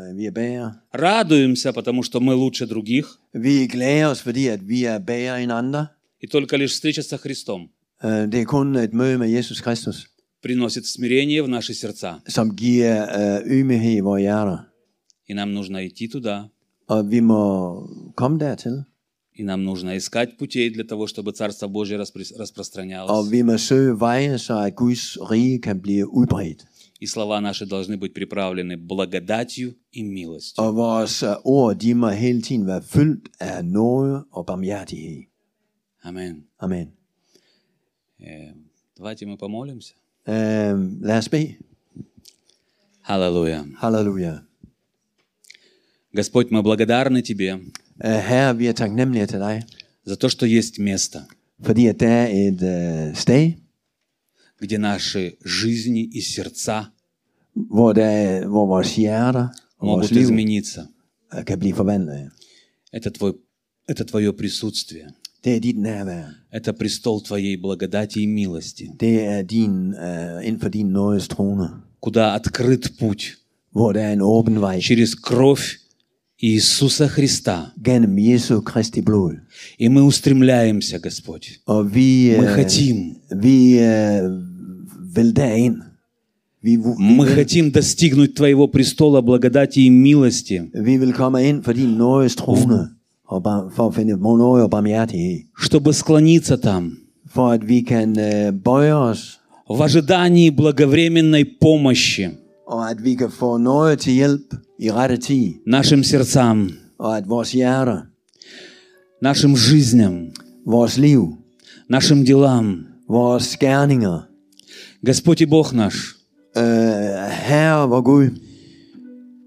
Speaker 3: øh, vi er bager.
Speaker 2: радуемся, потому что мы лучше других,
Speaker 3: Vi glæder os, fordi at vi er bager end andre.
Speaker 2: И только лишь встреча со Христом
Speaker 3: Øh, Det er kun et møde med Jesus Kristus,
Speaker 2: приносит смирение в наши сердца.
Speaker 3: som giver øh, ydmyghed i vores hjerter.
Speaker 2: И нам нужно идти туда,
Speaker 3: Og vi må komme dertil.
Speaker 2: и нам нужно искать путей для того, чтобы Царство Божье распро- распространялось.
Speaker 3: Og vi må søge veje, så at Guds rige kan blive udbredt.
Speaker 2: И слова наши должны быть приправлены благодатью и милостью.
Speaker 3: Og vores øh, ord, de må hele tiden være fyldt af nåde og barmhjertighed.
Speaker 2: Аминь.
Speaker 3: Amen.
Speaker 2: Э, Давайте мы помолимся.
Speaker 3: Øh, lad os bede.
Speaker 2: Аллилуйя.
Speaker 3: Halleluja.
Speaker 2: Господь, мы благодарны Тебе
Speaker 3: Øh, Herre, vi er taknemmelige til dig,
Speaker 2: за то, что есть место,
Speaker 3: fordi at der er et øh, sted,
Speaker 2: где наши жизни и сердца
Speaker 3: hvor, der, er- hvor vores hjerter og
Speaker 2: могут
Speaker 3: vores liv
Speaker 2: измениться.
Speaker 3: øh, kan blive forvandlet.
Speaker 2: Это, твой, это Твое присутствие.
Speaker 3: Det er dit nærvær.
Speaker 2: Это престол Твоей благодати и милости,
Speaker 3: Det er din, øh, inden for din nådes trone,
Speaker 2: куда открыт путь
Speaker 3: hvor der er en åben vej
Speaker 2: через кровь Иисуса Христа.
Speaker 3: gennem Jesu Kristi blod.
Speaker 2: И мы устремляемся, Господь.
Speaker 3: Og vi, øh,
Speaker 2: Мы хотим,
Speaker 3: vi øh, vil derind. Vi, vi,
Speaker 2: мы хотим достигнуть Твоего престола благодати и милости,
Speaker 3: vi vil komme ind for din nådes trone, og bar, for at finde nåde og barmhjertighed.
Speaker 2: чтобы склониться там
Speaker 3: For at vi kan øh, bøje os,
Speaker 2: в ожидании благовременной помощи
Speaker 3: og at vi kan få noget til hjælp i rette tid,
Speaker 2: нашим сердцам,
Speaker 3: og at vores hjerter,
Speaker 2: нашим жизням,
Speaker 3: vores liv,
Speaker 2: нашим делам.
Speaker 3: vores skærninger,
Speaker 2: Господь и Бог наш,
Speaker 3: øh, Herre vor Gud,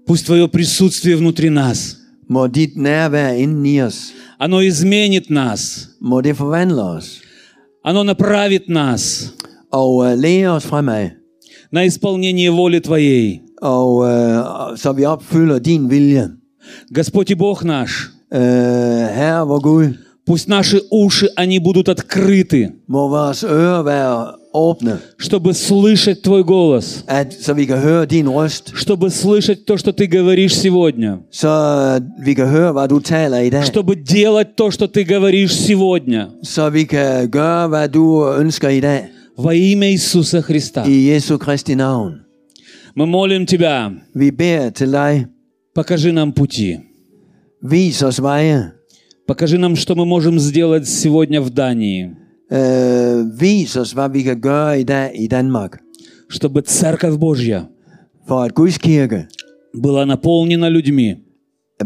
Speaker 2: пусть Твое присутствие внутри нас,
Speaker 3: må dit nærvær inden i os,
Speaker 2: оно изменит нас,
Speaker 3: må det forvandle os,
Speaker 2: оно направит нас
Speaker 3: og øh, læge os fremad,
Speaker 2: на исполнение воли Твоей.
Speaker 3: og øh, så vi opfylder din vilje.
Speaker 2: Господь и Бог наш,
Speaker 3: Øh, Herre vor Gud,
Speaker 2: пусть наши уши, они будут открыты,
Speaker 3: må vores ører være åbne,
Speaker 2: чтобы слышать Твой голос,
Speaker 3: at, så vi kan høre din røst,
Speaker 2: чтобы слышать то, что Ты говоришь сегодня,
Speaker 3: så øh, vi kan høre, hvad du taler i dag,
Speaker 2: чтобы делать то, что Ты говоришь сегодня.
Speaker 3: så vi kan gøre, hvad du ønsker i dag,
Speaker 2: Во имя Иисуса Христа.
Speaker 3: i Jesu Kristi navn.
Speaker 2: Мы молим Тебя,
Speaker 3: Vi beder til dig,
Speaker 2: покажи нам пути.
Speaker 3: vis os veje,
Speaker 2: Покажи нам, что мы можем сделать сегодня в Дании,
Speaker 3: Øh, vis os, hvad vi kan gøre i dag i Danmark,
Speaker 2: чтобы Церковь Божья
Speaker 3: for at Guds kirke
Speaker 2: была наполнена людьми,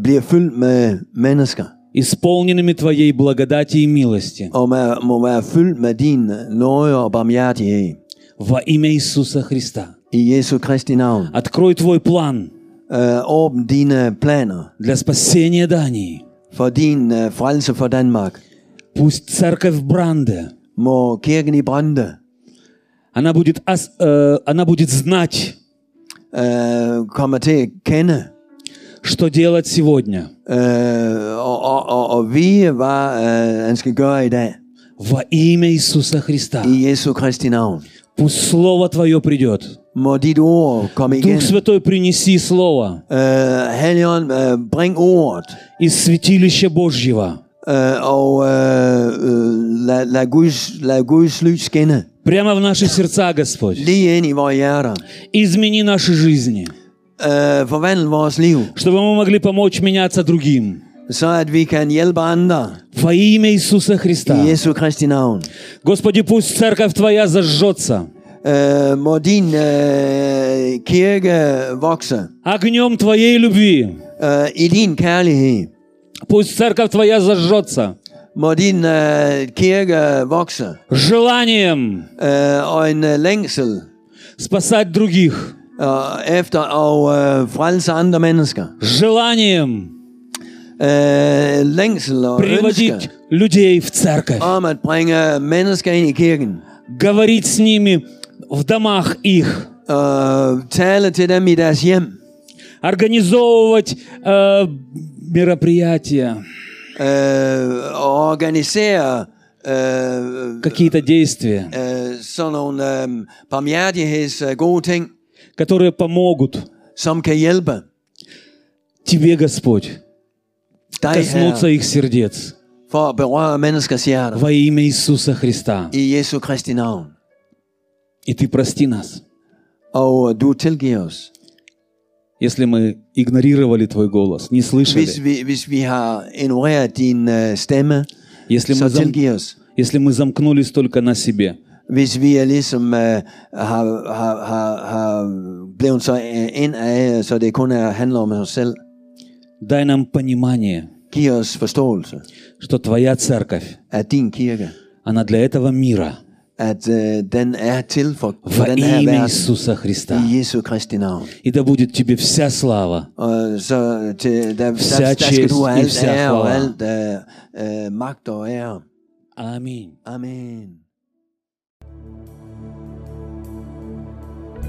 Speaker 3: bliver fyldt med mennesker,
Speaker 2: исполненными Твоей благодати и милости.
Speaker 3: og med, må være fyldt med din nåde og barmhjertighed.
Speaker 2: Во имя Иисуса Христа.
Speaker 3: I Jesu Kristi navn.
Speaker 2: Открой Твой план
Speaker 3: Øh, åbn dine planer
Speaker 2: для спасения Дании.
Speaker 3: for din øh, frelse for Danmark.
Speaker 2: Пусть Церковь Бранде,
Speaker 3: Må kirken i Brande
Speaker 2: она будет, ос- э, она будет знать,
Speaker 3: øh, komme til at kende
Speaker 2: что делать сегодня.
Speaker 3: øh, og, og, og, og vide, hvad øh, han skal gøre i dag.
Speaker 2: Во имя Иисуса Христа.
Speaker 3: I Jesu Kristi navn.
Speaker 2: Пусть Слово Твое придет.
Speaker 3: Må dit ord komme igen.
Speaker 2: Дух Святой, принеси Слово
Speaker 3: Øh, Helion, øh, bring ordet,
Speaker 2: из святилища Божьего.
Speaker 3: øh, og øh, øh, lad, lad, Guds, lad Guds lys skinne
Speaker 2: Прямо в наши сердца, Господь.
Speaker 3: lige ind i vores hjerter.
Speaker 2: Измени наши жизни,
Speaker 3: Øh, forvandl vores liv,
Speaker 2: чтобы мы могли помочь меняться другим.
Speaker 3: så at vi kan hjælpe andre
Speaker 2: Во имя Иисуса Христа.
Speaker 3: i Jesu Kristi navn.
Speaker 2: Господи, пусть церковь Твоя зажжется
Speaker 3: Øh, må din øh, kirke vokse
Speaker 2: огнем Твоей любви.
Speaker 3: øh, i din kærlighed.
Speaker 2: Пусть церковь Твоя зажжется
Speaker 3: Må din øh, kirke vokse
Speaker 2: желанием
Speaker 3: øh, og en øh, længsel
Speaker 2: спасать других,
Speaker 3: øh, efter at øh, frelse andre mennesker.
Speaker 2: желанием
Speaker 3: øh, længsel og
Speaker 2: приводить
Speaker 3: ønske
Speaker 2: людей в церковь,
Speaker 3: om at bringe mennesker ind i kirken.
Speaker 2: говорить с ними в домах их,
Speaker 3: Og Øh, tale til dem i deres hjem.
Speaker 2: организовывать э, мероприятия,
Speaker 3: Øh, og organisere øh,
Speaker 2: какие-то действия,
Speaker 3: øh, sådan nogle øh, barmhjertigheds øh, gode ting,
Speaker 2: которые помогут
Speaker 3: som kan hjælpe
Speaker 2: Тебе, Господь,
Speaker 3: dig
Speaker 2: коснуться
Speaker 3: her,
Speaker 2: их сердец,
Speaker 3: for at berøre menneskers hjerter
Speaker 2: во имя Иисуса Христа.
Speaker 3: i Jesu Kristi navn.
Speaker 2: И ты прости нас,
Speaker 3: Og øh, du tilgiver os,
Speaker 2: если мы игнорировали твой голос, не
Speaker 3: hvis
Speaker 2: слышали,
Speaker 3: vi, hvis vi har ignoreret din øh, stemme,
Speaker 2: если мы,
Speaker 3: så
Speaker 2: зам-
Speaker 3: tilgiv os.
Speaker 2: если мы замкнулись только на себе,
Speaker 3: Hvis vi er ligesom øh, har, har, har, har blevet så øh, ind af, så det kun er, handler om os selv,
Speaker 2: дай нам понимание,
Speaker 3: giv os forståelse
Speaker 2: что твоя церковь,
Speaker 3: af din kirke,
Speaker 2: она для этого мира
Speaker 3: at øh, den er til for, for
Speaker 2: во
Speaker 3: den her
Speaker 2: имя
Speaker 3: verden
Speaker 2: Иисуса Христа.
Speaker 3: i Jesu Kristi navn.
Speaker 2: И да будет тебе вся слава
Speaker 3: Og så til, der,
Speaker 2: Vся
Speaker 3: der, der skal
Speaker 2: честь
Speaker 3: du have
Speaker 2: и
Speaker 3: alt
Speaker 2: вся
Speaker 3: ære og
Speaker 2: хвала.
Speaker 3: alt øh, øh, magt og ære.
Speaker 2: Аминь.
Speaker 3: Amen.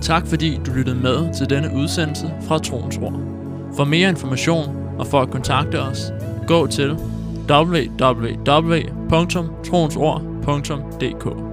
Speaker 1: Tak fordi du lyttede med til denne udsendelse fra Troens Ord. For mere information og for at kontakte os, gå til www.troensord.dk